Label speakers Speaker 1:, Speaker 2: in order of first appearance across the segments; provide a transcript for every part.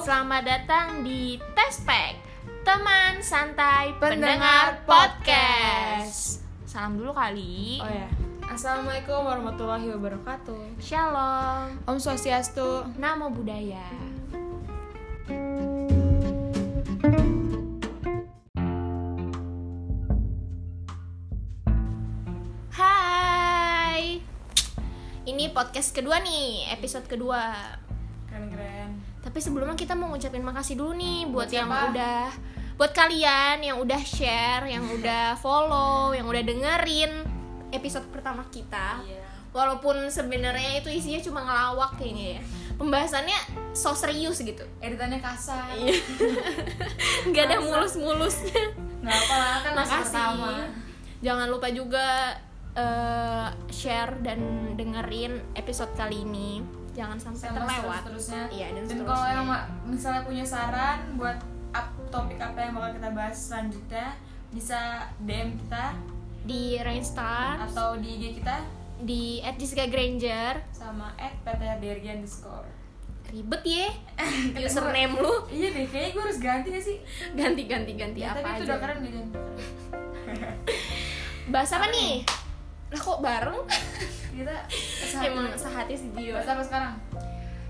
Speaker 1: Selamat datang di Tespek Teman santai pendengar podcast iya. Salam dulu kali
Speaker 2: Oh ya. Assalamualaikum warahmatullahi wabarakatuh.
Speaker 1: Shalom
Speaker 2: Om Swastiastu.
Speaker 1: Namo Buddhaya Hai Ini podcast kedua nih, episode kedua
Speaker 2: Keren-keren.
Speaker 1: Tapi sebelumnya kita mau ngucapin makasih dulu nih buat,
Speaker 2: Hmm, Buat
Speaker 1: yang
Speaker 2: siapa?
Speaker 1: udah buat kalian yang udah share,
Speaker 2: Hmm.
Speaker 1: yang udah follow, yang udah dengerin episode pertama kita.
Speaker 2: Iya.
Speaker 1: Walaupun sebenarnya itu isinya cuma ngelawak kayaknya ya. Pembahasannya so serius gitu.
Speaker 2: Editannya kasar.
Speaker 1: Iya. nggak ada
Speaker 2: Masa?
Speaker 1: mulus-mulusnya.
Speaker 2: Nggak apa lah kan masih
Speaker 1: Makasih.
Speaker 2: pertama.
Speaker 1: Jangan lupa juga eh, share dan dengerin episode kali ini. Jangan sampai
Speaker 2: Sama
Speaker 1: terlewat.
Speaker 2: terusnya.
Speaker 1: Iya, dan
Speaker 2: dan kalau
Speaker 1: seterusnya.
Speaker 2: yang ma- misalnya punya saran buat up topik apa yang bakal kita bahas selanjutnya bisa DM kita
Speaker 1: Di Rainstar,
Speaker 2: atau di IG kita
Speaker 1: di Jessica Granger,
Speaker 2: sama @ptrdergi underscore.
Speaker 1: ribet ya username lu
Speaker 2: Iya deh, kayaknya gue harus ganti gak sih?
Speaker 1: ganti ganti ganti apa
Speaker 2: Ya, tapi
Speaker 1: aja
Speaker 2: itu udah keren gitu.
Speaker 1: bahas apa nih lah kok bareng
Speaker 2: Kita
Speaker 1: emang
Speaker 2: sehati-
Speaker 1: sehati sedio
Speaker 2: Bahas apa sekarang?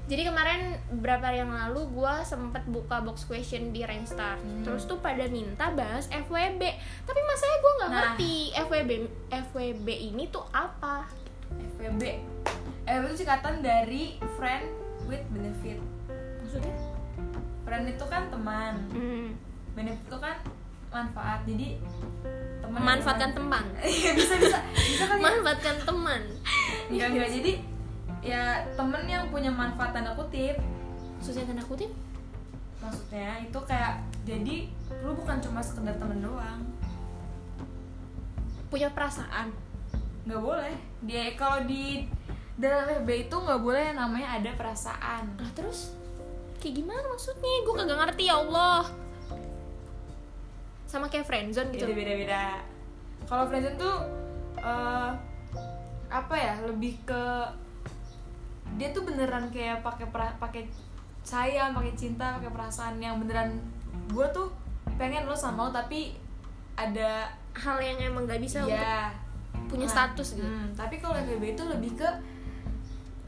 Speaker 1: jadi kemarin beberapa hari yang lalu gua sempet buka box question di Rainstar
Speaker 2: Hmm.
Speaker 1: terus tuh pada minta bahas FWB tapi masalahnya gua nggak
Speaker 2: Nah.
Speaker 1: ngerti FWB FWB ini tuh apa
Speaker 2: FWB FWB Eh, itu singkatan dari friend with benefit
Speaker 1: maksudnya
Speaker 2: friend itu kan teman
Speaker 1: hmm,
Speaker 2: benefit itu kan manfaat jadi teman
Speaker 1: memanfaatkan teman
Speaker 2: iya bisa bisa bisa kan ya?
Speaker 1: memanfaatkan teman
Speaker 2: enggak enggak jadi ya temen yang punya manfaat tanda kutip
Speaker 1: maksudnya tanda kutip
Speaker 2: maksudnya itu kayak jadi lu bukan cuma sekedar temen doang
Speaker 1: punya perasaan
Speaker 2: nggak boleh dia kalau di dalam FB itu nggak boleh yang namanya ada perasaan
Speaker 1: Nah terus kayak gimana maksudnya? Gue kagak ngerti ya Allah. Sama kayak friendzone gitu.
Speaker 2: Itu beda-beda. Kalau friendzone tuh eh, apa ya? Lebih ke dia tuh beneran kayak pakai pera- pakai sayang, pakai cinta, pakai perasaan yang beneran gue tuh pengen lo sama lo tapi ada
Speaker 1: Hal yang emang gak bisa untuk
Speaker 2: ya
Speaker 1: punya
Speaker 2: Nah,
Speaker 1: status gitu.
Speaker 2: hmm, tapi kalau FBB itu lebih ke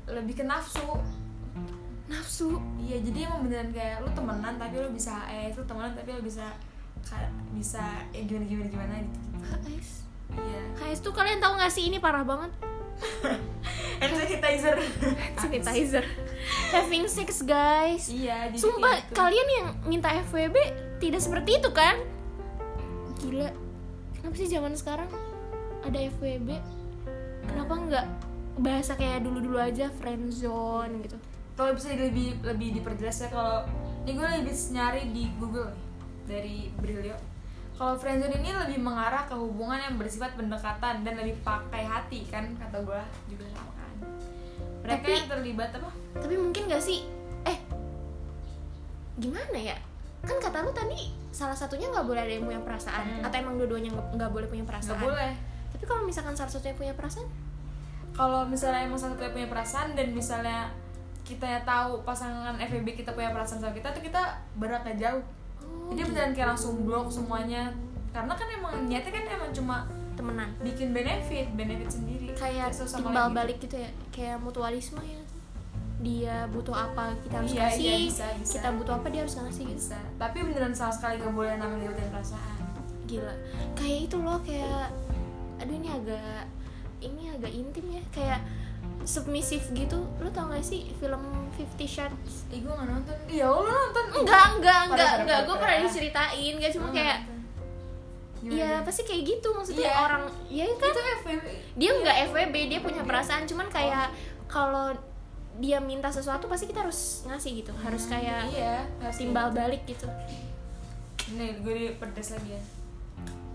Speaker 2: lebih ke nafsu.
Speaker 1: Nafsu.
Speaker 2: Iya, jadi emang beneran kayak lu temenan tapi lu bisa eh lu temenan tapi lu bisa ka- bisa eh, gimana gimana gimana gitu.
Speaker 1: HS.
Speaker 2: Iya.
Speaker 1: HS tuh kalian tahu gak sih ini parah banget
Speaker 2: hand sanitizer
Speaker 1: sanitizer. Having sex guys.
Speaker 2: iya jadi
Speaker 1: Sumpah
Speaker 2: kayak gitu.
Speaker 1: kalian yang minta FWB tidak seperti itu kan? Gila. Kenapa sih zaman sekarang ada FWB? Kenapa nggak bahasa kayak dulu-dulu aja friendzone gitu?
Speaker 2: kalau bisa lebih lebih diperjelas ya kalau ini gue lebih nyari di Google nih dari Brilio kalau friendzone ini lebih mengarah ke hubungan yang bersifat pendekatan dan lebih pakai hati kan kata gue juga sama kan mereka
Speaker 1: Tapi-
Speaker 2: yang terlibat apa
Speaker 1: tapi mungkin gak sih eh gimana ya kan kata lu tadi salah satunya nggak boleh ada yang punya perasaan
Speaker 2: Hmm.
Speaker 1: atau emang dua-duanya nggak- nggak boleh punya
Speaker 2: nggak
Speaker 1: perasaan
Speaker 2: boleh
Speaker 1: tapi kalau misalkan salah satunya punya perasaan
Speaker 2: kalau misalnya emang satu punya perasaan dan misalnya kita tahu pasangan FEB kita punya perasaan sama kita tuh kita beratnya jauh
Speaker 1: oh,
Speaker 2: jadi beneran kayak langsung blok semuanya karena kan emang niatnya kan emang cuma
Speaker 1: temenan
Speaker 2: bikin benefit benefit sendiri
Speaker 1: kayak
Speaker 2: Terus sama
Speaker 1: timbal
Speaker 2: lagi.
Speaker 1: balik gitu ya kayak mutualisme ya dia butuh apa kita harus
Speaker 2: Iya,
Speaker 1: kasih
Speaker 2: iya, bisa, bisa.
Speaker 1: kita butuh apa dia harus ngasih gitu
Speaker 2: bisa tapi beneran sama sekali nggak boleh namanya ngilutin perasaan
Speaker 1: gila kayak itu loh kayak aduh ini agak ini agak intim ya kayak submisif gitu lu tau gak sih film Fifty Shades
Speaker 2: eh gue nggak nonton iya lo nonton Oh,
Speaker 1: enggak enggak
Speaker 2: Parah,
Speaker 1: enggak
Speaker 2: parah,
Speaker 1: enggak gue
Speaker 2: parah, Hmm.
Speaker 1: pernah
Speaker 2: parah.
Speaker 1: diceritain gak cuma kayak ya pasti kayak gitu maksudnya
Speaker 2: Iya.
Speaker 1: orang ya kan
Speaker 2: itu FWB
Speaker 1: dia nggak FWB dia
Speaker 2: Iya.
Speaker 1: punya perasaan cuman kayak kalau dia minta sesuatu pasti kita harus ngasih gitu harus
Speaker 2: Hmm,
Speaker 1: kayak
Speaker 2: iya harus
Speaker 1: timbal balik gitu
Speaker 2: nih gue di pedes lagi ya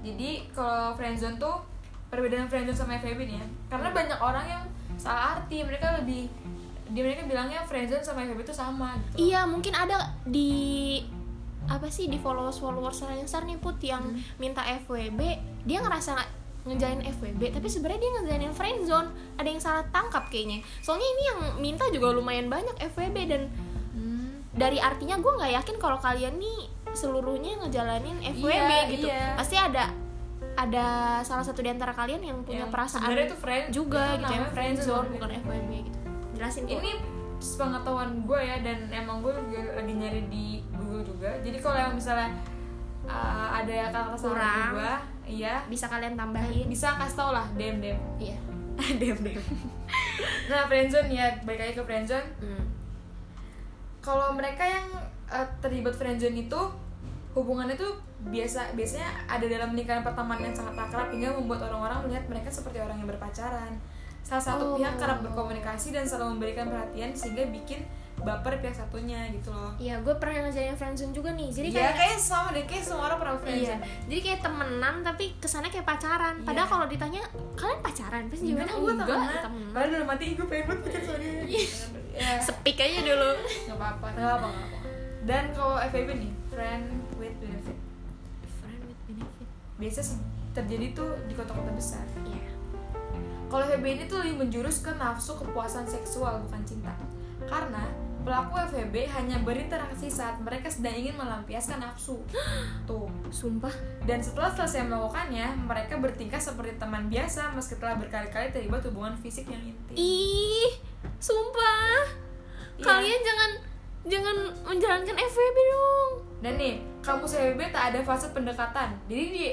Speaker 2: jadi kalau friendzone tuh perbedaan friendzone sama FWB nih ya karena banyak orang yang salah arti mereka lebih dia mereka bilangnya friendzone sama FWB itu sama gitu
Speaker 1: iya mungkin ada di apa sih di followers followers Ransar nih put yang
Speaker 2: Hmm.
Speaker 1: minta FWB dia ngerasa nggak ngejalin FWB tapi sebenarnya dia ngejalin friendzone ada yang salah tangkap kayaknya soalnya ini yang minta juga lumayan banyak FWB dan
Speaker 2: Hmm.
Speaker 1: dari artinya gue nggak yakin kalau kalian nih seluruhnya ngejalanin FWB
Speaker 2: Iya,
Speaker 1: gitu
Speaker 2: iya.
Speaker 1: pasti ada ada salah satu di antara kalian yang punya
Speaker 2: Yang
Speaker 1: perasaan
Speaker 2: sebenarnya itu friend-
Speaker 1: juga
Speaker 2: itu
Speaker 1: gitu yang
Speaker 2: namanya
Speaker 1: friend zone
Speaker 2: friendzone.
Speaker 1: bukan FWB gitu jelasin Put.
Speaker 2: ini sepengetahuan gue ya dan emang gue juga lagi nyari di Google juga jadi kalau yang misalnya uh, ada kata-kata salah dari
Speaker 1: Kurang.
Speaker 2: gue iya
Speaker 1: bisa kalian tambahin
Speaker 2: bisa kasih tau lah dem dem
Speaker 1: iya
Speaker 2: dem dem nah friendzone ya balik lagi ke friendzone
Speaker 1: Hmm.
Speaker 2: kalau mereka yang uh, terlibat friendzone itu hubungannya tuh biasa biasanya ada dalam lingkaran pertemanan yang sangat akrab hingga membuat orang-orang melihat mereka seperti orang yang berpacaran salah
Speaker 1: Oh.
Speaker 2: satu pihak kerap berkomunikasi dan selalu memberikan perhatian sehingga bikin baper pihak satunya gitu loh
Speaker 1: iya gue pernah ngejalanin friendzone juga nih jadi
Speaker 2: Iya,
Speaker 1: kayak
Speaker 2: kayaknya sama deh kayak semua orang pernah
Speaker 1: Iya.
Speaker 2: friendzone
Speaker 1: Jadi kayak temenan tapi kesannya kayak pacaran.
Speaker 2: Iya.
Speaker 1: Padahal kalau ditanya kalian pacaran pasti
Speaker 2: Enggak,
Speaker 1: jawabannya
Speaker 2: gue
Speaker 1: enggak,
Speaker 2: temenan.
Speaker 1: temenan. Iya.
Speaker 2: Padahal dalam hati gue pengen banget pacar sama dia. Ya,
Speaker 1: Sepik aja dulu.
Speaker 2: nggak apa-apa, nggak apa-apa. nggak apa-apa. Dan kalau FIB nih, friend with benefit.
Speaker 1: Friend with benefit.
Speaker 2: Biasa se- terjadi tuh di kota-kota besar.
Speaker 1: Iya.
Speaker 2: Kalau FEB ini tuh lebih menjurus ke nafsu kepuasan seksual bukan cinta. Karena pelaku FEB hanya berinteraksi saat mereka sedang ingin melampiaskan nafsu. Tuh.
Speaker 1: Sumpah.
Speaker 2: Dan setelah selesai melakukannya, mereka bertingkah seperti teman biasa meski telah berkali-kali terlibat hubungan fisik yang intim.
Speaker 1: Ih, sumpah.
Speaker 2: Iya.
Speaker 1: Kalian jangan jangan menjalankan FWB dong.
Speaker 2: Dan nih, kampus FEB tak ada fase pendekatan. Jadi di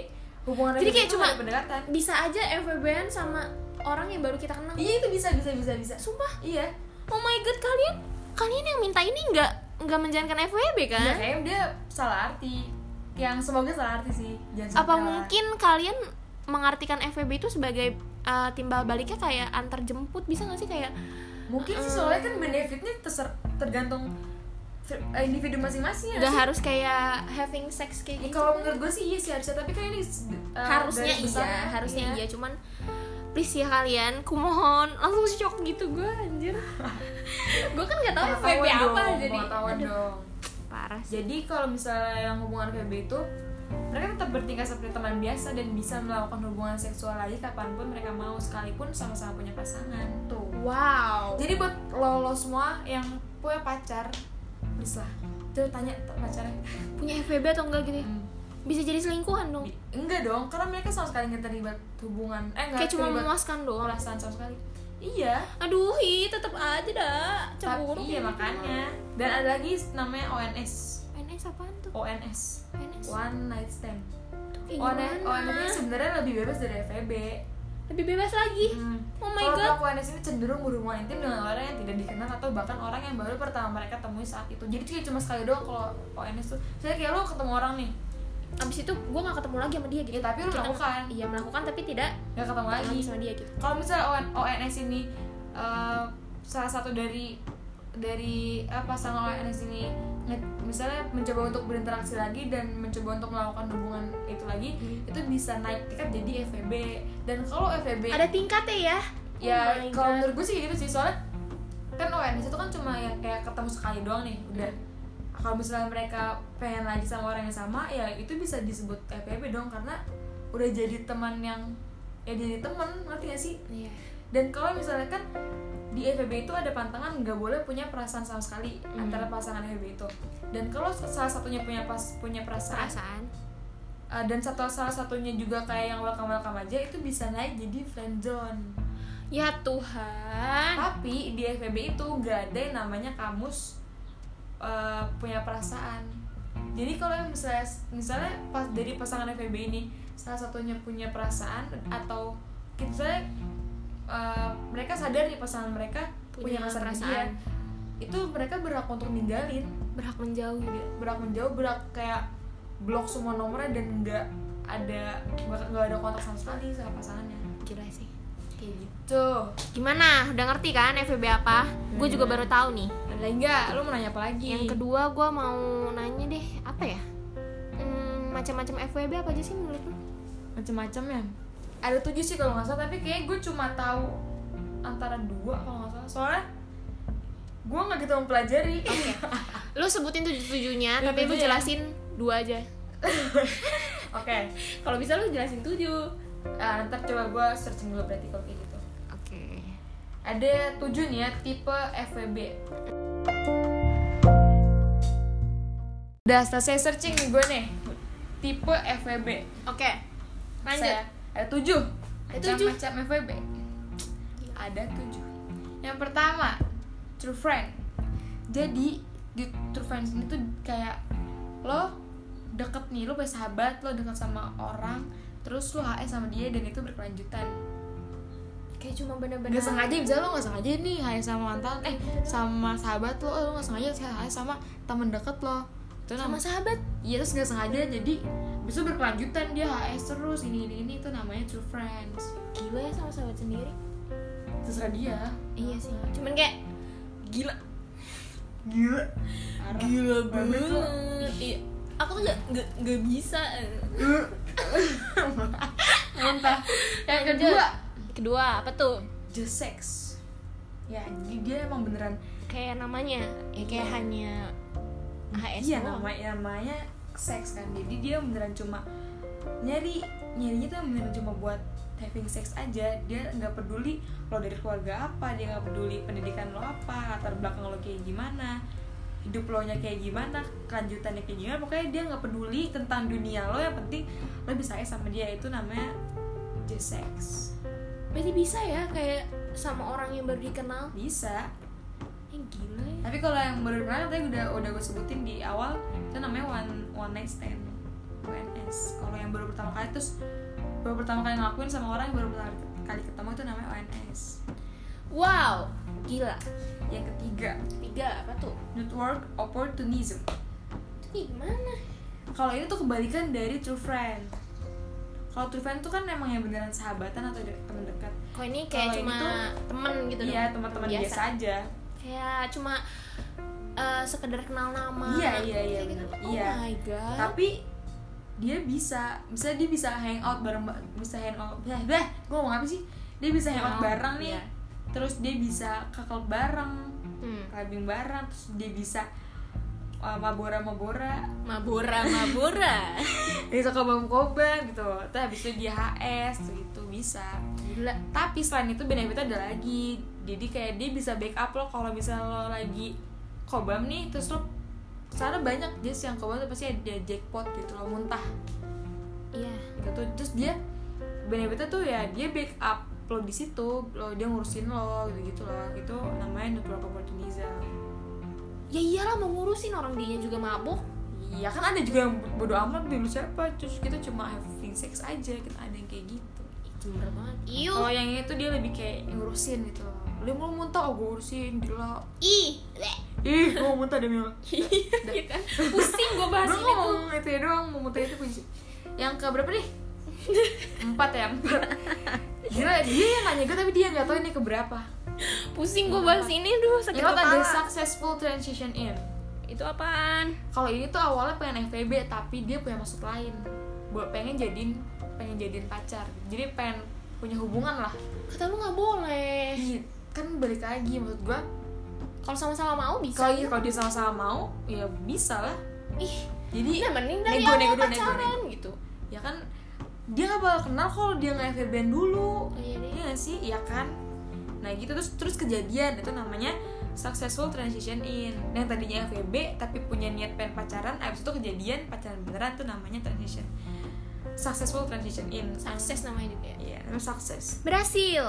Speaker 2: hubungan
Speaker 1: Jadi
Speaker 2: FEB
Speaker 1: kayak
Speaker 2: tuh
Speaker 1: cuma-
Speaker 2: nggak ada pendekatan.
Speaker 1: Bisa aja FWB-an sama orang yang baru kita kenal.
Speaker 2: Iya itu bisa bisa bisa bisa.
Speaker 1: Sumpah.
Speaker 2: Iya.
Speaker 1: Oh my god, kalian kalian yang minta ini enggak enggak menjalankan FWB kan?
Speaker 2: Ya, kayaknya dia salah arti. Yang semoga salah arti sih.
Speaker 1: apa
Speaker 2: Jangan sampai lah.
Speaker 1: mungkin kalian mengartikan FWB itu sebagai uh, timbal baliknya kayak antar jemput bisa nggak sih kayak
Speaker 2: Mungkin sih soalnya kan benefitnya terser- tergantung fir- eh, individu masing-masing ya.
Speaker 1: nggak
Speaker 2: sih?
Speaker 1: harus kayak having sex kayak
Speaker 2: Ya,
Speaker 1: gitu
Speaker 2: kalau menurut gue sih iya sih harusnya tapi kan ini eh,
Speaker 1: harusnya
Speaker 2: garis
Speaker 1: iya
Speaker 2: besarnya,
Speaker 1: harusnya iya. cuman please ya kalian kumohon langsung shock gitu gue anjir gue kan nggak tahu FWB
Speaker 2: Pengetahuan
Speaker 1: apa
Speaker 2: dong,
Speaker 1: jadi
Speaker 2: pengetahuan
Speaker 1: Aduh,
Speaker 2: dong.
Speaker 1: parah sih
Speaker 2: Jadi kalau misalnya yang hubungan FB itu mereka tetap bertingkah seperti teman biasa dan bisa melakukan hubungan seksual lagi kapanpun mereka mau sekalipun sama-sama punya pasangan tuh.
Speaker 1: wow
Speaker 2: Jadi buat lo, lo semua yang punya pacar, bisa lah. Jangan tanya t- pacarnya.
Speaker 1: punya FWB atau enggak gitu ya?
Speaker 2: Hmm.
Speaker 1: bisa jadi selingkuhan dong
Speaker 2: Di- Enggak dong, karena mereka sama sekali nggak terlibat hubungan. Eh nggak
Speaker 1: kayak cuma
Speaker 2: terlibat
Speaker 1: memuaskan doang
Speaker 2: perasaan sama sekali. Iya.
Speaker 1: aduh hi tetap aja dah cemburu kayak
Speaker 2: Tapi iya
Speaker 1: gitu.
Speaker 2: makanya. Dan ada lagi namanya ONS.
Speaker 1: PNS apaan tuh
Speaker 2: ONS.
Speaker 1: PNS
Speaker 2: One night stand.
Speaker 1: tuh kayak
Speaker 2: ONS,
Speaker 1: gimana?
Speaker 2: ONS ini sebenarnya lebih bebas dari FEB.
Speaker 1: lebih bebas lagi
Speaker 2: Hmm.
Speaker 1: oh my
Speaker 2: Kalau
Speaker 1: god
Speaker 2: pelaku ONS ini cenderung berhubungan intim dengan orang yang tidak dikenal atau bahkan orang yang baru pertama mereka temui saat itu. Jadi kayak cuma sekali doang kalau ONS tuh. Saya kayak lo ketemu orang nih,
Speaker 1: abis itu gue gak ketemu lagi sama dia gitu
Speaker 2: ya Mm-hmm. tapi lo
Speaker 1: Kita-
Speaker 2: melakukan,
Speaker 1: iya melakukan tapi tidak
Speaker 2: nggak ketemu lagi.
Speaker 1: lagi sama dia gitu
Speaker 2: Kalau misalnya ON- ONS ini eh, salah satu dari dari eh, pasangan ONS ini nge- misalnya mencoba untuk berinteraksi lagi dan mencoba untuk melakukan hubungan itu lagi
Speaker 1: Hmm.
Speaker 2: itu bisa naik tingkat jadi FVB dan kalau FVB
Speaker 1: ada tingkatnya ya
Speaker 2: ya
Speaker 1: Oh my
Speaker 2: kalau
Speaker 1: God.
Speaker 2: menurut gue sih gitu sih soalnya kan ONS itu kan cuma yang kayak ketemu sekali doang nih udah
Speaker 1: Iya.
Speaker 2: kalau misalnya mereka pengen lagi sama orang yang sama ya itu bisa disebut FVB dong karena udah jadi teman yang ya jadi teman ngerti gak sih
Speaker 1: iya
Speaker 2: dan kalau misalnya kan di FEB itu ada pantangan nggak boleh punya perasaan sama sekali
Speaker 1: Hmm.
Speaker 2: antara pasangan FEB itu dan kalau salah satunya punya pas punya perasaan
Speaker 1: perasaan
Speaker 2: uh, dan satu salah satunya juga kayak yang welcome welcome aja itu bisa naik jadi friendzone
Speaker 1: ya Tuhan
Speaker 2: tapi di FEB itu nggak ada yang namanya kamus uh, punya perasaan jadi kalau yang misalnya misalnya pas dari pasangan FEB ini salah satunya punya perasaan atau kita uh, mereka sadar nih pasangan mereka punya, perasaan, ke dia, itu mereka berhak untuk ninggalin
Speaker 1: berhak menjauh
Speaker 2: berhak menjauh berhak kayak blok semua nomornya dan nggak ada nggak ada kontak sama sekali sama pasangannya
Speaker 1: gila sih
Speaker 2: kayak gitu
Speaker 1: gimana udah ngerti kan FVB apa gue juga baru tahu nih
Speaker 2: ada lagi nggak lu mau nanya apa lagi
Speaker 1: yang kedua gue mau nanya deh apa ya hmm, macam-macam FWB apa aja sih menurut lo
Speaker 2: macam-macam ya ada tujuh sih kalau nggak salah tapi kayak gue cuma tahu antara dua kalau nggak salah soalnya gue nggak gitu mempelajari oke
Speaker 1: Ah, lu sebutin tujuh tujuhnya tapi lu
Speaker 2: Tujuh-tujuh ya.
Speaker 1: jelasin dua aja
Speaker 2: oke
Speaker 1: kalau bisa lu jelasin tujuh
Speaker 2: Ah, ntar coba gue searching dulu berarti kalau kayak gitu
Speaker 1: oke
Speaker 2: ada tujuh nih ya tipe FWB Udah, setelah saya searching nih gue nih. Tipe FWB.
Speaker 1: Oke. Lanjut.
Speaker 2: Saya, ada Eh, tujuh.
Speaker 1: Ada tujuh.
Speaker 2: Macam-macam FWB. Ada tujuh. Yang pertama, true friend. Jadi di true friend ini tuh kayak lo deket nih, lo bersahabat, lo deket sama orang, terus lo HS sama dia dan itu berkelanjutan.
Speaker 1: Kayak cuma bener-bener.
Speaker 2: Gak sengaja, misalnya lo gak sengaja nih HS sama mantan, eh sama sahabat lo, eh, lo gak sengaja HS sama temen deket lo. Itu
Speaker 1: Sama sahabat.
Speaker 2: Iya terus nggak sengaja jadi besok berkelanjutan dia HS terus ini ini ini itu namanya true friends
Speaker 1: Gila ya sama sahabat sendiri.
Speaker 2: terserah dia
Speaker 1: Iya sih. Cuman kayak
Speaker 2: gila gila gila
Speaker 1: Iya. Aku tuh gak, gak, gak bisa.
Speaker 2: entah yang
Speaker 1: Lanjut.
Speaker 2: kedua
Speaker 1: Kedua apa tuh?
Speaker 2: just sex ya jadi dia emang beneran
Speaker 1: Kayak namanya. Ya kayak hanya HS
Speaker 2: iya
Speaker 1: doang.
Speaker 2: namanya namanya seks kan jadi dia beneran cuma nyari nyarinya tuh beneran cuma buat having sex aja dia nggak peduli lo dari keluarga apa dia nggak peduli pendidikan lo apa latar belakang lo kayak gimana hidup lo nya kayak gimana kelanjutannya kayak gimana pokoknya dia nggak peduli tentang dunia lo yang penting lo bisa aja sama dia itu namanya just sex
Speaker 1: Berarti bisa ya kayak sama orang yang baru dikenal.
Speaker 2: bisa
Speaker 1: Yang gila ya.
Speaker 2: tapi kalau yang baru kenal tadi udah udah gue sebutin di awal itu namanya one one night stand ONS kalau yang baru pertama kali terus baru pertama kali ngelakuin sama orang yang baru pertama kali ketemu itu namanya ONS
Speaker 1: Wow. Gila.
Speaker 2: yang ketiga
Speaker 1: Tiga apa tuh?
Speaker 2: network opportunism
Speaker 1: Itu kayak gimana?
Speaker 2: kalau ini tuh kebalikan dari true friend kalau true friend tuh kan emang yang beneran sahabatan atau de- teman dekat
Speaker 1: Kok ini kayak
Speaker 2: Kalau ini
Speaker 1: cuma
Speaker 2: tuh-
Speaker 1: temen gitu
Speaker 2: iya
Speaker 1: doang?
Speaker 2: teman-teman biasa. aja
Speaker 1: Kayak cuma eh, sekedar kenal nama.
Speaker 2: Iya, iya, iya,
Speaker 1: Kayak gitu.
Speaker 2: bener.
Speaker 1: Oh
Speaker 2: Iya.
Speaker 1: my god.
Speaker 2: tapi dia bisa misalnya dia bisa hangout bareng bisa hangout dah dah gue ngomong apa sih dia bisa hangout
Speaker 1: Hangout,
Speaker 2: bareng nih
Speaker 1: iya.
Speaker 2: terus dia bisa kakak bareng
Speaker 1: Hmm.
Speaker 2: clubbing bareng terus dia bisa uh, mabora mabora
Speaker 1: Mabura, mabura.
Speaker 2: bisa kobam kobam gitu terus habis itu dia HS tuh gitu bisa
Speaker 1: Gila.
Speaker 2: tapi selain itu benefitnya ada lagi jadi kayak dia bisa backup lo kalau misalnya lo lagi kobam nih terus lo sana banyak jazz yang kobam tuh pasti ada jackpot gitu lo muntah
Speaker 1: Iya.
Speaker 2: gitu tuh terus dia benefitnya tuh ya dia backup lo di situ lo dia ngurusin lo gitu gitu loh itu namanya network opportunism
Speaker 1: Ya iyalah mau ngurusin orang dia juga mabuk.
Speaker 2: iya kan ada juga yang bodo amat dulu siapa terus kita cuma having sex aja kita ada yang kayak gitu
Speaker 1: Ih, Jember banget. Oh, Iu.
Speaker 2: kalau yang itu dia lebih kayak ngurusin gitu loh dia mau muntah oh gue urusin gila
Speaker 1: Ih. Leh.
Speaker 2: ih gue mau muntah demi lo
Speaker 1: Gitu kan. Pusing gue bahas
Speaker 2: gue
Speaker 1: ini tuh.
Speaker 2: ngomong itu ya doang mau muntah itu kunci yang ke berapa nih empat ya empat gila dia yang nanya gue tapi dia nggak tahu ini ke berapa
Speaker 1: Pusing gue bahas ini duh sakit
Speaker 2: Yang ada
Speaker 1: kepala.
Speaker 2: successful transition in.
Speaker 1: Itu apaan?
Speaker 2: Kalau ini tuh awalnya pengen FVB tapi dia punya maksud lain. Buat pengen jadiin pengen jadiin pacar. Jadi pengen punya hubungan lah.
Speaker 1: Kata lu nggak boleh.
Speaker 2: Ih, kan balik lagi maksud gua.
Speaker 1: Kalau sama-sama mau bisa.
Speaker 2: Kalau iya, kalau dia sama-sama mau, ya bisa lah.
Speaker 1: Ih.
Speaker 2: Jadi
Speaker 1: Iya, mending dari
Speaker 2: nego,
Speaker 1: awal
Speaker 2: nego, nego,
Speaker 1: pacaran
Speaker 2: nego.
Speaker 1: gitu.
Speaker 2: ya kan dia nggak bakal kenal kalau dia nggak FVB dulu.
Speaker 1: Oh, iya deh.
Speaker 2: Iya nggak sih? Iya kan? Nah gitu terus terus kejadian itu namanya successful transition in. Nah, Yang tadinya FWB tapi punya niat pengen pacaran, abis itu kejadian pacaran beneran tuh namanya transition. Successful transition in.
Speaker 1: Sukses namanya juga ya.
Speaker 2: Iya, namanya sukses.
Speaker 1: Berhasil.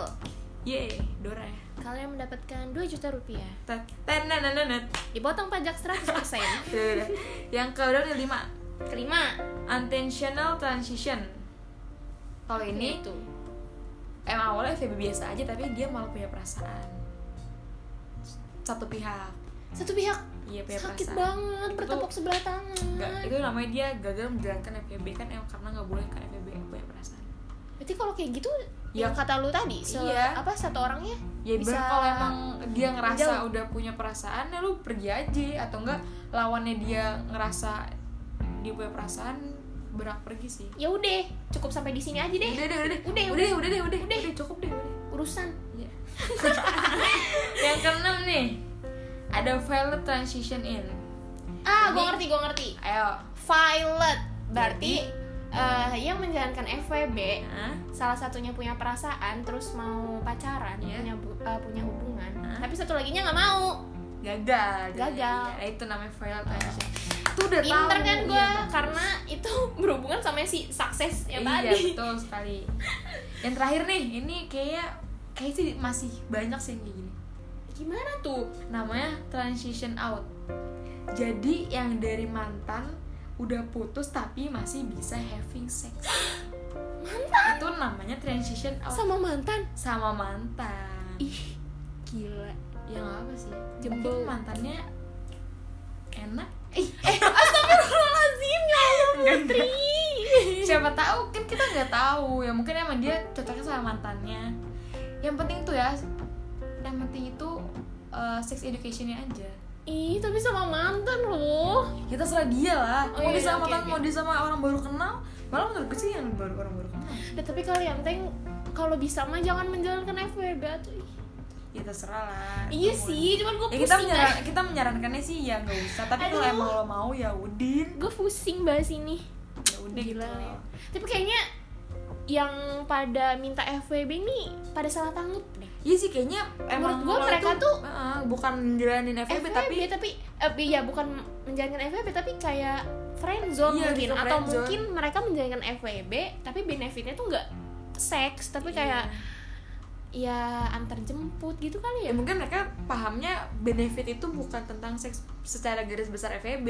Speaker 2: Yeay, Dora ya.
Speaker 1: Kalian mendapatkan 2 juta rupiah.
Speaker 2: Ta- tananananan.
Speaker 1: Dipotong pajak 100%.
Speaker 2: Udah, udah, udah. Yang ke udah nih, lima
Speaker 1: Kelima.
Speaker 2: Unintentional transition. Kalau ini
Speaker 1: itu.
Speaker 2: emang awalnya FWB biasa aja tapi dia malah punya perasaan. Satu pihak.
Speaker 1: Satu pihak
Speaker 2: Iya, punya
Speaker 1: sakit
Speaker 2: perasaan.
Speaker 1: banget bertepuk sebelah tangan.
Speaker 2: Nggak, itu namanya dia gagal menjalankan FVB kan emang karena nggak boleh kan FVB punya perasaan
Speaker 1: Berarti kalau kayak gitu
Speaker 2: Ya.
Speaker 1: yang kata lu tadi, se-
Speaker 2: Iya.
Speaker 1: apa satu orangnya
Speaker 2: ya
Speaker 1: bisa
Speaker 2: bisa kalau emang dia ngerasa
Speaker 1: menjauh.
Speaker 2: udah punya perasaan ya lu pergi aja atau enggak lawannya dia ngerasa dia punya perasaan berak pergi sih
Speaker 1: ya udah cukup sampai di sini aja deh
Speaker 2: udah deh udah deh
Speaker 1: Udah,
Speaker 2: udah deh, udah deh udah
Speaker 1: Udah.
Speaker 2: udah cukup deh udah
Speaker 1: urusan.
Speaker 2: Iya. yang keenam nih ada valid transition in
Speaker 1: Ah,
Speaker 2: Jadi-
Speaker 1: gue ngerti, gue ngerti.
Speaker 2: ayo
Speaker 1: Violet berarti eh, yang menjalankan FWB
Speaker 2: Hah?
Speaker 1: salah satunya punya perasaan terus mau pacaran
Speaker 2: Iya.
Speaker 1: punya bu- eh, punya hubungan
Speaker 2: Hah?
Speaker 1: tapi satu laginya nggak mau
Speaker 2: gagal Iya,
Speaker 1: Gagal.
Speaker 2: Nah, itu namanya viral transition tuh udah tahu.
Speaker 1: pinter kan gue
Speaker 2: Iya,
Speaker 1: karena itu berhubungan sama si sukses ya
Speaker 2: iya,
Speaker 1: tadi
Speaker 2: betul sekali. Yang terakhir nih, ini kayaknya kayak sih masih banyak sih yang kayak gini.
Speaker 1: gimana tuh
Speaker 2: Namanya transition out. Jadi yang dari mantan udah putus tapi masih bisa having sex. mantan? Itu namanya transition out
Speaker 1: sama mantan
Speaker 2: sama mantan.
Speaker 1: ih gila
Speaker 2: Ya nggak apa sih?
Speaker 1: Jembel. eh,
Speaker 2: Mungkin mantannya enak.
Speaker 1: Astagfirullahaladzim ya Allah Putri
Speaker 2: Siapa tahu kan kita nggak tahu. Ya mungkin emang dia cocoknya sama mantannya. Yang penting tuh ya, yang penting itu eh, sex educationnya aja.
Speaker 1: ih tapi sama mantan loh
Speaker 2: Ya terserah dia lah.
Speaker 1: Oh,
Speaker 2: mau
Speaker 1: iya,
Speaker 2: dia
Speaker 1: oke,
Speaker 2: sama mantan,
Speaker 1: oke.
Speaker 2: mau dia sama orang baru kenal. Malah menurut gue sih yang baru orang baru kenal.
Speaker 1: Nah, tapi kalian teng kalau bisa mah jangan menjalankan FWB tuh.
Speaker 2: Ya terserah lah.
Speaker 1: Iya
Speaker 2: Itu
Speaker 1: sih, cuman gue
Speaker 2: boleh. Ya kita
Speaker 1: pusing
Speaker 2: menyaran, kita menyarankannya sih ya nggak usah. Tapi kalau
Speaker 1: Aduh.
Speaker 2: emang lo mau ya udin.
Speaker 1: Gue pusing bahas ini.
Speaker 2: Ya udah
Speaker 1: Gila
Speaker 2: gitu.
Speaker 1: ya. Tapi kayaknya yang pada minta FWB ini pada salah tanggap deh.
Speaker 2: Iya sih kayaknya emang
Speaker 1: gua
Speaker 2: lo
Speaker 1: mereka tuh-
Speaker 2: eh, bukan jalanin FWB, tapi
Speaker 1: FWB tapi eh, iya bukan menjalankan FWB tapi kayak friendzone
Speaker 2: Iya,
Speaker 1: mungkin
Speaker 2: bisa
Speaker 1: atau
Speaker 2: friendzone.
Speaker 1: mungkin mereka menjalankan FWB tapi benefitnya tuh nggak seks tapi kayak
Speaker 2: Iya.
Speaker 1: ya antar jemput gitu kali ya.
Speaker 2: ya mungkin mereka pahamnya benefit itu bukan tentang seks secara garis besar E FEB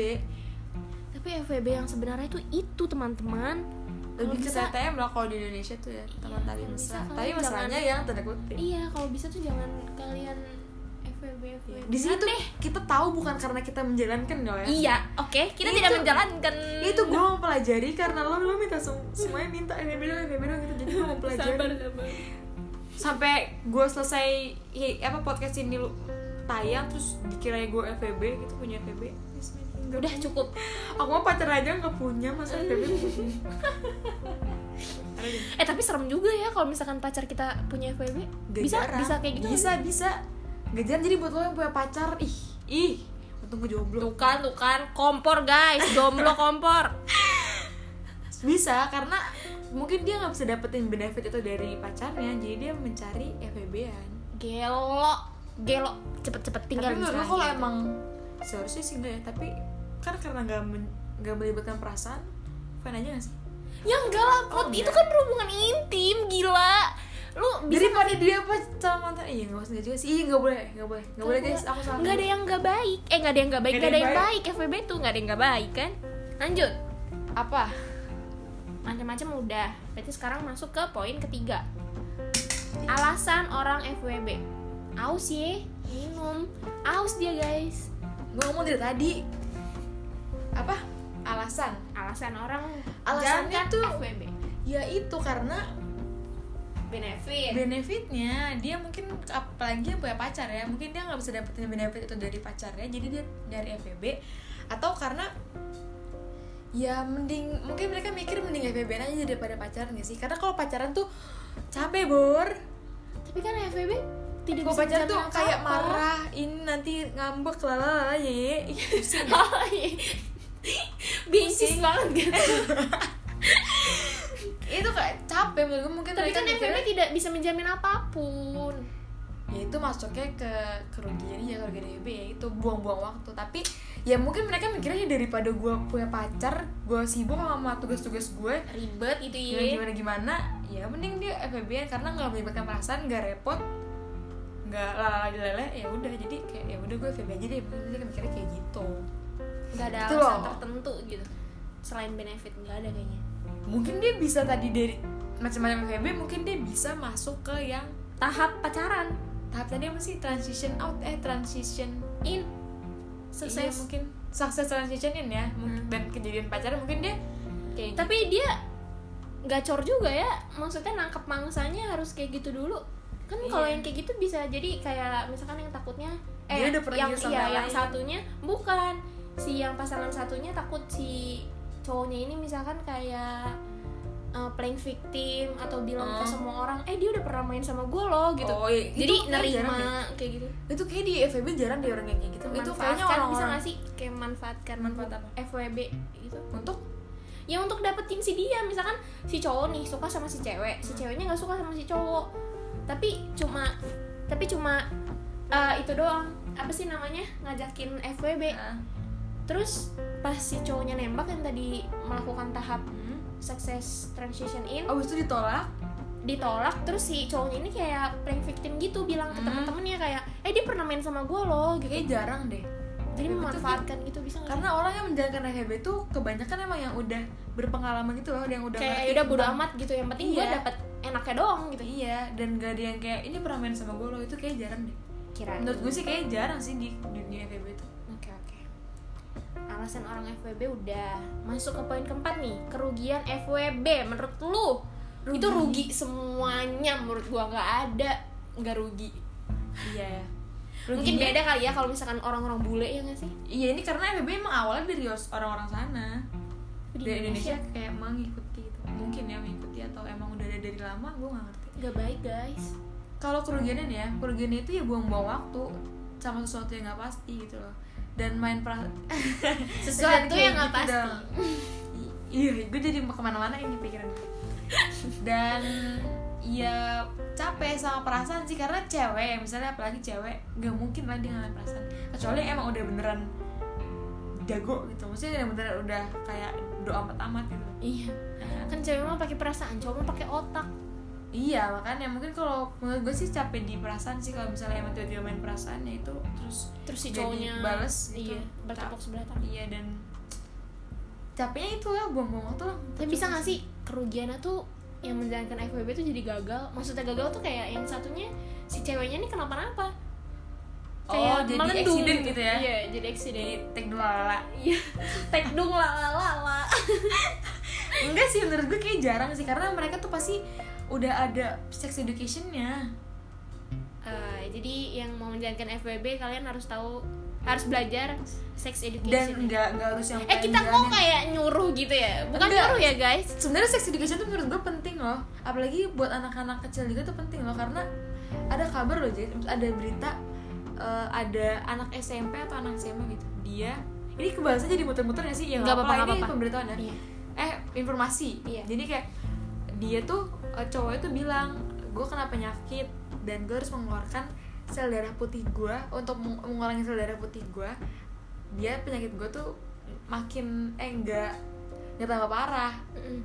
Speaker 1: Tapi FWB yang sebenarnya itu itu teman-teman. Kalau
Speaker 2: lebih ke
Speaker 1: bisa-
Speaker 2: TTM lah kalau di Indonesia tuh ya teman
Speaker 1: Iya,
Speaker 2: tali
Speaker 1: kalau bisa
Speaker 2: mesra
Speaker 1: kalian
Speaker 2: tapi masalahnya yang tanda kutip
Speaker 1: Iya, kalau bisa tuh jangan kalian FWB FWB.
Speaker 2: di sini tuh kita tahu bukan karena kita menjalankan loh ya
Speaker 1: Iya, oke, kita
Speaker 2: Itu-
Speaker 1: tidak menjalankan.
Speaker 2: itu gue mau pelajari karena lo lo minta sem- semuanya minta FEB dong FEB dong gitu jadi gue mau pelajari
Speaker 1: sabar.
Speaker 2: sampai gue selesai hi- apa podcast ini lu tayang terus dikiranya gue FEB gitu punya FEB Bismillah.
Speaker 1: Udah cukup.
Speaker 2: aku mau pacar aja nggak punya masa E FEB
Speaker 1: Eh, tapi serem juga ya kalau misalkan pacar kita punya FWB.
Speaker 2: Gak
Speaker 1: bisa
Speaker 2: jarang.
Speaker 1: bisa kayak gitu.
Speaker 2: bisa bisa gak jarang jadi buat lo yang punya pacar ih ih untung gue jomblo
Speaker 1: Tuh kan, tuh kan, kompor guys, jomblo kompor.
Speaker 2: bisa karena mungkin dia nggak bisa dapetin benefit itu dari pacarnya jadi dia mencari FBB-an
Speaker 1: Gelo, gelo, cepet-cepet tinggal gitu.
Speaker 2: tapi menurut lo
Speaker 1: misalnya.
Speaker 2: kalau emang seharusnya sih enggak ya tapi kan karena nggak men- nggak melibatkan perasaan fine aja gak sih
Speaker 1: Ya enggak lah, Put.
Speaker 2: Oh,
Speaker 1: itu
Speaker 2: iya.
Speaker 1: kan berhubungan intim, gila. Lu bisa
Speaker 2: daripada dia apa sama mantan iya nggak usah juga sih iya nggak boleh nggak boleh nggak boleh guys aku salah
Speaker 1: Nggak ada yang nggak baik. Eh nggak ada yang nggak baik, nggak ada yang baik. FWB tuh nggak ada yang nggak baik kan? Lanjut.
Speaker 2: apa
Speaker 1: Macam-macam udah. Berarti sekarang masuk ke poin ketiga. Alasan orang FWB. Aus ye, minum. Aus dia guys.
Speaker 2: gue ngomong dari tadi apa alasan
Speaker 1: Alasan orang
Speaker 2: Alasannya
Speaker 1: jangan
Speaker 2: tuh-
Speaker 1: FWB.
Speaker 2: ya itu karena
Speaker 1: Benefit.
Speaker 2: benefitnya dia mungkin apalagi yang punya pacar ya mungkin dia nggak bisa dapetin benefit itu dari pacarnya jadi dia dari FBB atau karena ya mending mungkin mereka mikir mending FBB aja daripada pacaran nggak sih karena kalau pacaran tuh capek bor
Speaker 1: Tapi kan FWB tidak
Speaker 2: kalau
Speaker 1: bisa
Speaker 2: pacaran tuh
Speaker 1: menjamin
Speaker 2: kayak
Speaker 1: apa-apa.
Speaker 2: marah ini nanti ngambek lalala ye Ih, pusing.
Speaker 1: Oh, iya. Bisnis banget gitu.
Speaker 2: itu kayak capek menurut gue mungkin
Speaker 1: Tapi
Speaker 2: mereka
Speaker 1: kan
Speaker 2: mikirnya-
Speaker 1: FWB tidak bisa menjamin apapun.
Speaker 2: ya itu masuknya ke kerugian ya kerugian FB ya itu buang-buang waktu tapi ya mungkin mereka mikirnya daripada gue punya pacar gue sibuk sama tugas-tugas gue
Speaker 1: Ribet gitu ya.
Speaker 2: Iya, gimana gimana ya mending dia FBB karena nggak melibatkan perasaan nggak repot nggak lala lele ya udah jadi kayak ya udah gue FBB aja deh mungkin mereka mikirnya kayak gitu
Speaker 1: nggak ada
Speaker 2: Gitu
Speaker 1: alasan
Speaker 2: loh.
Speaker 1: tertentu gitu selain benefit nggak ada kayaknya
Speaker 2: mungkin dia bisa tadi dari macam-macam FBB mungkin dia bisa masuk ke yang
Speaker 1: tahap pacaran
Speaker 2: tahap tadi apa sih transition out eh transition
Speaker 1: in
Speaker 2: sukses
Speaker 1: sukses
Speaker 2: Iya, mungkin sukses transitionin ya
Speaker 1: Iya.
Speaker 2: mungkin-
Speaker 1: Hmm.
Speaker 2: dan kejadian pacaran mungkin dia kayak
Speaker 1: tapi dia gacor juga ya maksudnya nangkep mangsanya harus kayak gitu dulu kan kalau
Speaker 2: Iya.
Speaker 1: yang kayak gitu bisa jadi kayak misalkan yang takutnya eh
Speaker 2: Dia udah pernah
Speaker 1: yang
Speaker 2: juga sama
Speaker 1: iya,
Speaker 2: yang
Speaker 1: yang
Speaker 2: lain.
Speaker 1: satunya bukan si yang pasangan satunya takut si cowoknya ini misalkan kayak eh, playing victim atau bilang ke
Speaker 2: Oh.
Speaker 1: semua orang eh dia udah pernah main sama gue loh gitu
Speaker 2: Oh, iya. Itu
Speaker 1: jadi
Speaker 2: kayak jarang deh.
Speaker 1: nerima kayak gitu
Speaker 2: itu kayak di FEB jarang dia orang kayak gitu itu kayaknya
Speaker 1: Manfaatkan,
Speaker 2: orang
Speaker 1: bisa
Speaker 2: orang
Speaker 1: nggak sih kayak manfaatkan
Speaker 2: Manfaat apa?
Speaker 1: FWB gitu
Speaker 2: untuk
Speaker 1: ya untuk dapetin si dia misalkan si cowok nih suka sama si cewek
Speaker 2: Hmm.
Speaker 1: si ceweknya nggak suka sama si cowok tapi cuma tapi cuma eh, itu doang apa sih namanya ngajakin FWB terus pas si cowoknya nembak yang tadi melakukan tahap
Speaker 2: Hmm.
Speaker 1: success transition in
Speaker 2: Abis itu ditolak.
Speaker 1: ditolak terus si cowoknya ini kayak prank victim gitu bilang ke
Speaker 2: Hmm.
Speaker 1: temen-temennya kayak eh dia pernah main sama gue loh gitu
Speaker 2: Kayaknya jarang deh.
Speaker 1: jadi
Speaker 2: betul
Speaker 1: memanfaatkan gitu bisa nggak
Speaker 2: Karena orang yang menjalankan FHB tuh kebanyakan emang yang udah berpengalaman gitu loh, ada yang udah
Speaker 1: sih? kayak
Speaker 2: ngerti
Speaker 1: ya udah bodo
Speaker 2: tentang-
Speaker 1: amat gitu yang penting gue
Speaker 2: Iya.
Speaker 1: dapet enaknya doang gitu
Speaker 2: Iya, dan gak ada yang kayak ini pernah main sama gue loh, itu kayak jarang deh.
Speaker 1: kira
Speaker 2: Menurut gue sih kayaknya jarang sih di dunia FHB itu.
Speaker 1: Oke oke. Alasan orang FWB udah masuk ke poin keempat nih kerugian FWB menurut lu
Speaker 2: Rugi.
Speaker 1: itu rugi semuanya menurut gua nggak ada nggak rugi.
Speaker 2: Iya ya.
Speaker 1: Mungkin beda kali ya kalau misalkan orang-orang bule ya nggak sih
Speaker 2: Iya ini karena FHB emang awalnya dari os- orang-orang sana.
Speaker 1: Di
Speaker 2: dari Indonesia,
Speaker 1: Indonesia.
Speaker 2: kayak emang ngikuti gitu mungkin ya mengikuti atau emang udah ada dari lama gue nggak ngerti
Speaker 1: nggak baik guys.
Speaker 2: kalau kerugiannya nih ya kerugiannya itu ya buang-buang waktu sama sesuatu yang nggak pasti gitu loh dan main pra
Speaker 1: Sesuatu
Speaker 2: Kayak
Speaker 1: yang nggak
Speaker 2: gitu
Speaker 1: pasti.
Speaker 2: dong. I- iya gue jadi kemana-mana ini pikiran gue. dan ya capek sama perasaan sih karena cewek misalnya apalagi cewek nggak mungkin lah dia ngalamin perasaan kecuali emang udah beneran jago gitu maksudnya udah beneran udah kayak doa amat amat gitu
Speaker 1: Iya. Kan cewek mah pakai perasaan, cowok mah pakai otak.
Speaker 2: Iya makanya mungkin kalau menurut gue sih capek di perasaan sih kalau misalnya emang tiba-tiba main perasaan ya itu terus
Speaker 1: Terus si
Speaker 2: Jadi
Speaker 1: cowoknya
Speaker 2: bales gitu.
Speaker 1: Iya, bertepuk sebelah tangan.
Speaker 2: iya dan capeknya itu lah buang-buang waktu lah.
Speaker 1: Tapi Ya, bisa nggak sih kerugiannya tuh yang menjalankan FWB tuh jadi gagal? Maksudnya gagal tuh kayak yang satunya si ceweknya nih kenapa-napa?
Speaker 2: Oh jadi
Speaker 1: melendung
Speaker 2: accident gitu ya?
Speaker 1: Iya, jadi
Speaker 2: Jadi
Speaker 1: accident.
Speaker 2: take dulu lah, lah.
Speaker 1: Iya. Tek dong la la la la.
Speaker 2: Enggak sih menurut gue kayak jarang sih karena mereka tuh pasti udah ada sex educationnya.
Speaker 1: Eh, jadi yang mau menjalankan FWB kalian harus tahu harus belajar sex
Speaker 2: Dan
Speaker 1: education.
Speaker 2: enggak enggak harus yang
Speaker 1: eh kita kok kayak nyuruh gitu ya? Bukan
Speaker 2: Enggak.
Speaker 1: nyuruh ya, guys.
Speaker 2: sebenarnya sex education tuh menurut gue penting loh apalagi buat anak-anak kecil juga tuh penting loh karena ada kabar loh jadi ada berita eh, ada anak SMP atau anak SMA gitu dia ini kebahasan jadi muter-muter gak sih ya
Speaker 1: Nggak apa-apa, nggak
Speaker 2: ini
Speaker 1: apa-apa.
Speaker 2: pemberitahuan ya
Speaker 1: Iya.
Speaker 2: eh informasi
Speaker 1: Iya.
Speaker 2: jadi kayak dia tuh eh, cowoknya tuh bilang gue kena penyakit dan gue harus mengeluarkan sel darah putih gue untuk meng- mengurangi sel darah putih gue dia penyakit gue tuh makin eh enggak nggak tambah parah
Speaker 1: Mm-mm.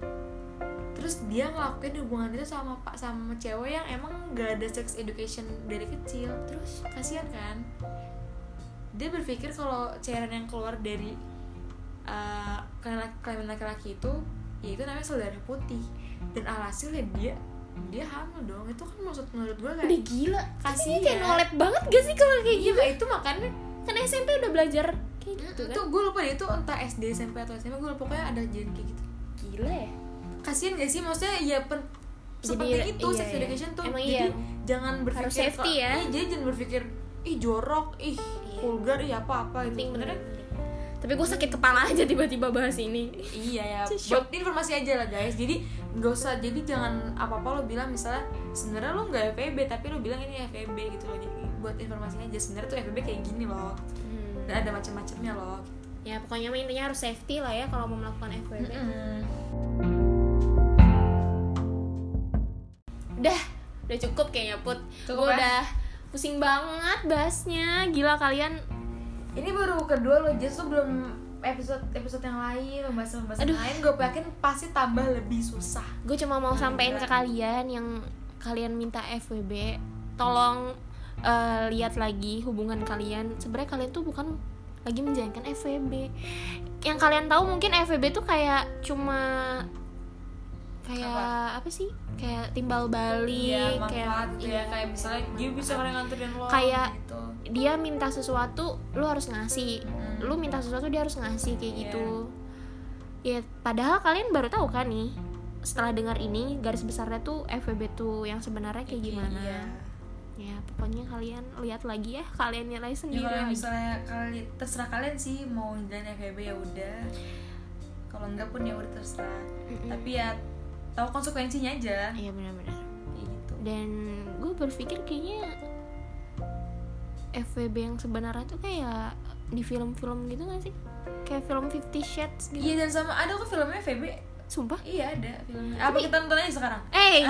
Speaker 2: terus dia ngelakuin hubungan itu sama pak sama cewek yang emang gak ada sex education dari kecil
Speaker 1: Terus
Speaker 2: kasihan kan dia berpikir kalau cairan yang keluar dari uh, kelainan- kelainan laki-laki itu ya itu namanya sel darah putih dan alhasilnya dia dia hamil dong itu kan maksud menurut gue kan
Speaker 1: udah gila.
Speaker 2: Kasihan.
Speaker 1: Kasih kayak nolet banget gak sih kalau kayak
Speaker 2: ya. iya
Speaker 1: gitu?
Speaker 2: itu makanya
Speaker 1: Kan SMP udah belajar kayak gitu
Speaker 2: itu
Speaker 1: kan.
Speaker 2: gue lupa deh itu entah SD SMP atau SMA gue lupa pokoknya ada jalan kayak gitu
Speaker 1: gila ya
Speaker 2: kasihan gak sih maksudnya ya pen
Speaker 1: Jadi,
Speaker 2: sepenting itu
Speaker 1: iya,
Speaker 2: sex
Speaker 1: iya.
Speaker 2: education tuh
Speaker 1: Emang iya.
Speaker 2: jadi jangan berpikir
Speaker 1: Harus safety ya.
Speaker 2: kalau-
Speaker 1: Iya.
Speaker 2: iya, jadi jangan berpikir ih jorok ih vulgar ih apa apa gitu
Speaker 1: penting bener
Speaker 2: sebenarnya
Speaker 1: tapi gue sakit kepala aja tiba-tiba bahas ini
Speaker 2: iya ya
Speaker 1: Cih,
Speaker 2: buat informasi aja lah guys jadi nggak usah jadi jangan apa apa lo bilang misalnya sebenarnya lo nggak FEB tapi lo bilang ini FEB gitu loh jadi buat informasinya aja sebenarnya tuh FEB kayak gini loh dan ada macam-macamnya loh
Speaker 1: Nah, ya pokoknya mah intinya harus safety lah ya kalau mau melakukan FWB
Speaker 2: Mm-mm.
Speaker 1: udah udah cukup kayaknya put gue
Speaker 2: Cukup ya?
Speaker 1: udah pusing banget bahasnya gila kalian
Speaker 2: ini baru kedua lo Jess tuh belum episode episode yang lain pembahasan pembahasan
Speaker 1: Aduh.
Speaker 2: lain gue yakin pasti tambah lebih susah
Speaker 1: gue cuma
Speaker 2: Hmm,
Speaker 1: mau sampein ke kalian yang kalian minta FWB tolong eh, lihat lagi hubungan kalian sebenarnya kalian tuh bukan lagi menjalankan FWB yang kalian tahu mungkin FWB tuh kayak cuma kayak apa, sih kayak timbal balik
Speaker 2: Iya, manfaat
Speaker 1: kayak
Speaker 2: gitu ya
Speaker 1: iya.
Speaker 2: kayak misalnya dia bisa orang nganterin lo
Speaker 1: Kayak-
Speaker 2: gitu.
Speaker 1: dia minta sesuatu lu harus ngasih
Speaker 2: Mm.
Speaker 1: lu minta sesuatu dia harus ngasih kayak
Speaker 2: Iya.
Speaker 1: gitu ya padahal kalian baru tahu kan nih setelah dengar ini garis besarnya tuh FWB tuh yang sebenarnya kayak gimana
Speaker 2: Iya.
Speaker 1: ya pokoknya kalian lihat lagi ya kalian nilai
Speaker 2: Jadi
Speaker 1: sendiri
Speaker 2: kalau
Speaker 1: lagi.
Speaker 2: misalnya kali terserah kalian sih mau jalan FEB ya udah. Kalau enggak pun ya udah terserah.
Speaker 1: Mm-mm.
Speaker 2: Tapi ya tahu konsekuensinya aja.
Speaker 1: iya benar-benar
Speaker 2: Kayak gitu.
Speaker 1: dan gue berpikir kayaknya FWB yang sebenarnya tuh kayak di film-film gitu gak sih kayak film Fifty Shades gitu
Speaker 2: Iya dan sama ada kok filmnya FEB
Speaker 1: Sumpah.
Speaker 2: Iya ada filmnya. Apa kita nonton aja sekarang?
Speaker 1: Eh,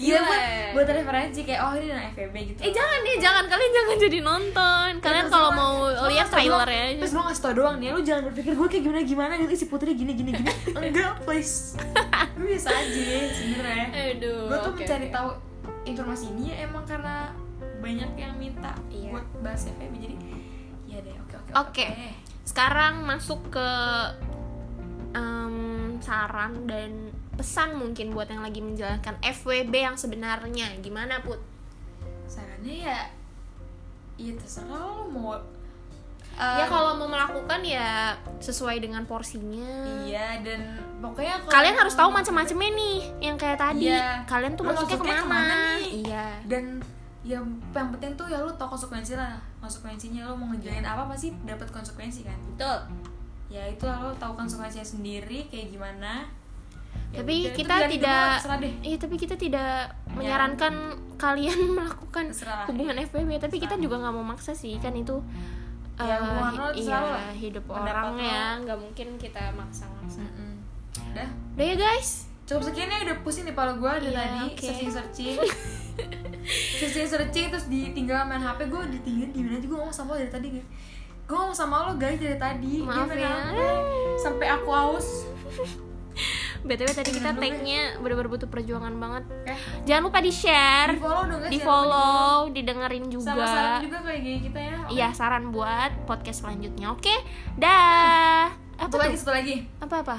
Speaker 2: Gila buat, buat referensi kayak oh ini anak FEB gitu.
Speaker 1: eh jangan deh, jangan kalian jangan jadi nonton. Kalian
Speaker 2: Terus
Speaker 1: kalau
Speaker 2: gua-
Speaker 1: mau
Speaker 2: gua
Speaker 1: lihat
Speaker 2: ngasih tau doang-
Speaker 1: trailernya aja.
Speaker 2: Terus gue ngasih tau doang nih Lu jangan berpikir gue kayak gimana-gimana gitu "Ih, Si Putri gini gini gini Enggak please Gue biasa aja sebenernya
Speaker 1: Aduh.
Speaker 2: Gue tuh
Speaker 1: Eh, oke,
Speaker 2: mencari
Speaker 1: oke.
Speaker 2: tahu informasi ini ya emang karena Banyak yang minta
Speaker 1: Iya.
Speaker 2: buat bahas FEB Jadi ya deh oke oke
Speaker 1: Oke. Sekarang masuk ke em, saran dan pesan mungkin buat yang lagi menjalankan FWB yang sebenarnya. Gimana, Put?
Speaker 2: Sarannya ya Ya terserah lo mau
Speaker 1: ya
Speaker 2: eh,
Speaker 1: kalau mau melakukan ya sesuai dengan porsinya.
Speaker 2: Iya dan pokoknya kalau
Speaker 1: Kalian harus tahu
Speaker 2: emang-
Speaker 1: macam-macamnya nih yang kayak tadi.
Speaker 2: Iya.
Speaker 1: Kalian tuh
Speaker 2: Lu
Speaker 1: masuknya
Speaker 2: masuknya
Speaker 1: kemana?
Speaker 2: kemana nih?
Speaker 1: Iya.
Speaker 2: dan ya yang penting tuh ya lu tau konsekuensinya lah konsekuensinya lu mau ngejain apa pasti dapat konsekuensi kan
Speaker 1: Iya. Betul.
Speaker 2: ya itu lo tahu konsekuensinya sendiri kayak gimana Ya
Speaker 1: Tapi
Speaker 2: udah, itu
Speaker 1: kita
Speaker 2: pilihan hidup
Speaker 1: tidak
Speaker 2: lo, terserah deh
Speaker 1: Iya, tapi kita
Speaker 2: Ya.
Speaker 1: tidak menyarankan kalian melakukan
Speaker 2: Terserah.
Speaker 1: hubungan FWB, tapi kita
Speaker 2: Terserah.
Speaker 1: juga nggak mau maksa sih, kan itu
Speaker 2: Ya,
Speaker 1: eh,
Speaker 2: hubungan lo
Speaker 1: hi- iya,
Speaker 2: terserah lo.
Speaker 1: hidup
Speaker 2: Pendapat
Speaker 1: orang
Speaker 2: lo.
Speaker 1: ya, nggak mungkin kita maksa-maksa.
Speaker 2: Mm-mm. udah
Speaker 1: Udah ya guys,
Speaker 2: cukup sekian ya udah pusing di kepala gue dari
Speaker 1: Iya,
Speaker 2: tadi
Speaker 1: oke.
Speaker 2: searching searching searching searching terus ditinggal main hp gue ditinggal gimana aja gue ngomong sama lo dari tadi guys gue ngomong sama lo guys dari tadi Dia
Speaker 1: Maaf
Speaker 2: main
Speaker 1: ya.
Speaker 2: HP. sampai aku haus
Speaker 1: btw tadi kita
Speaker 2: Jangan lupa.
Speaker 1: tag-nya bener-bener butuh perjuangan banget.
Speaker 2: eh,
Speaker 1: Jangan lupa di share,
Speaker 2: di follow dong
Speaker 1: di
Speaker 2: guys jangan lupa
Speaker 1: follow, didengerin
Speaker 2: di-
Speaker 1: juga.
Speaker 2: sama saran juga kayak gini kita ya Oke.
Speaker 1: Iya saran buat podcast selanjutnya, oke? Dah. Apa
Speaker 2: satu lagi
Speaker 1: tuh?
Speaker 2: satu lagi
Speaker 1: Apa apa?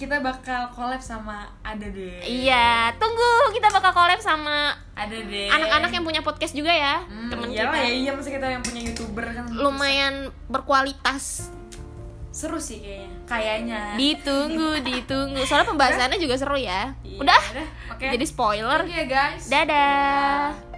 Speaker 2: kita bakal collab sama ada deh
Speaker 1: Iya, tunggu kita bakal collab sama
Speaker 2: ada deh
Speaker 1: anak-anak yang punya podcast juga ya,
Speaker 2: Iya. Hmm,
Speaker 1: temen
Speaker 2: iyalah
Speaker 1: kita.
Speaker 2: ya iya masa kita yang punya youtuber kan
Speaker 1: Lumayan berkualitas.
Speaker 2: seru sih kayaknya kayaknya
Speaker 1: Ditunggu, ditunggu. Soalnya pembahasannya juga seru ya.
Speaker 2: Iya,
Speaker 1: Udah,
Speaker 2: udah oke
Speaker 1: jadi spoiler.
Speaker 2: Thank you ya guys
Speaker 1: Dadah.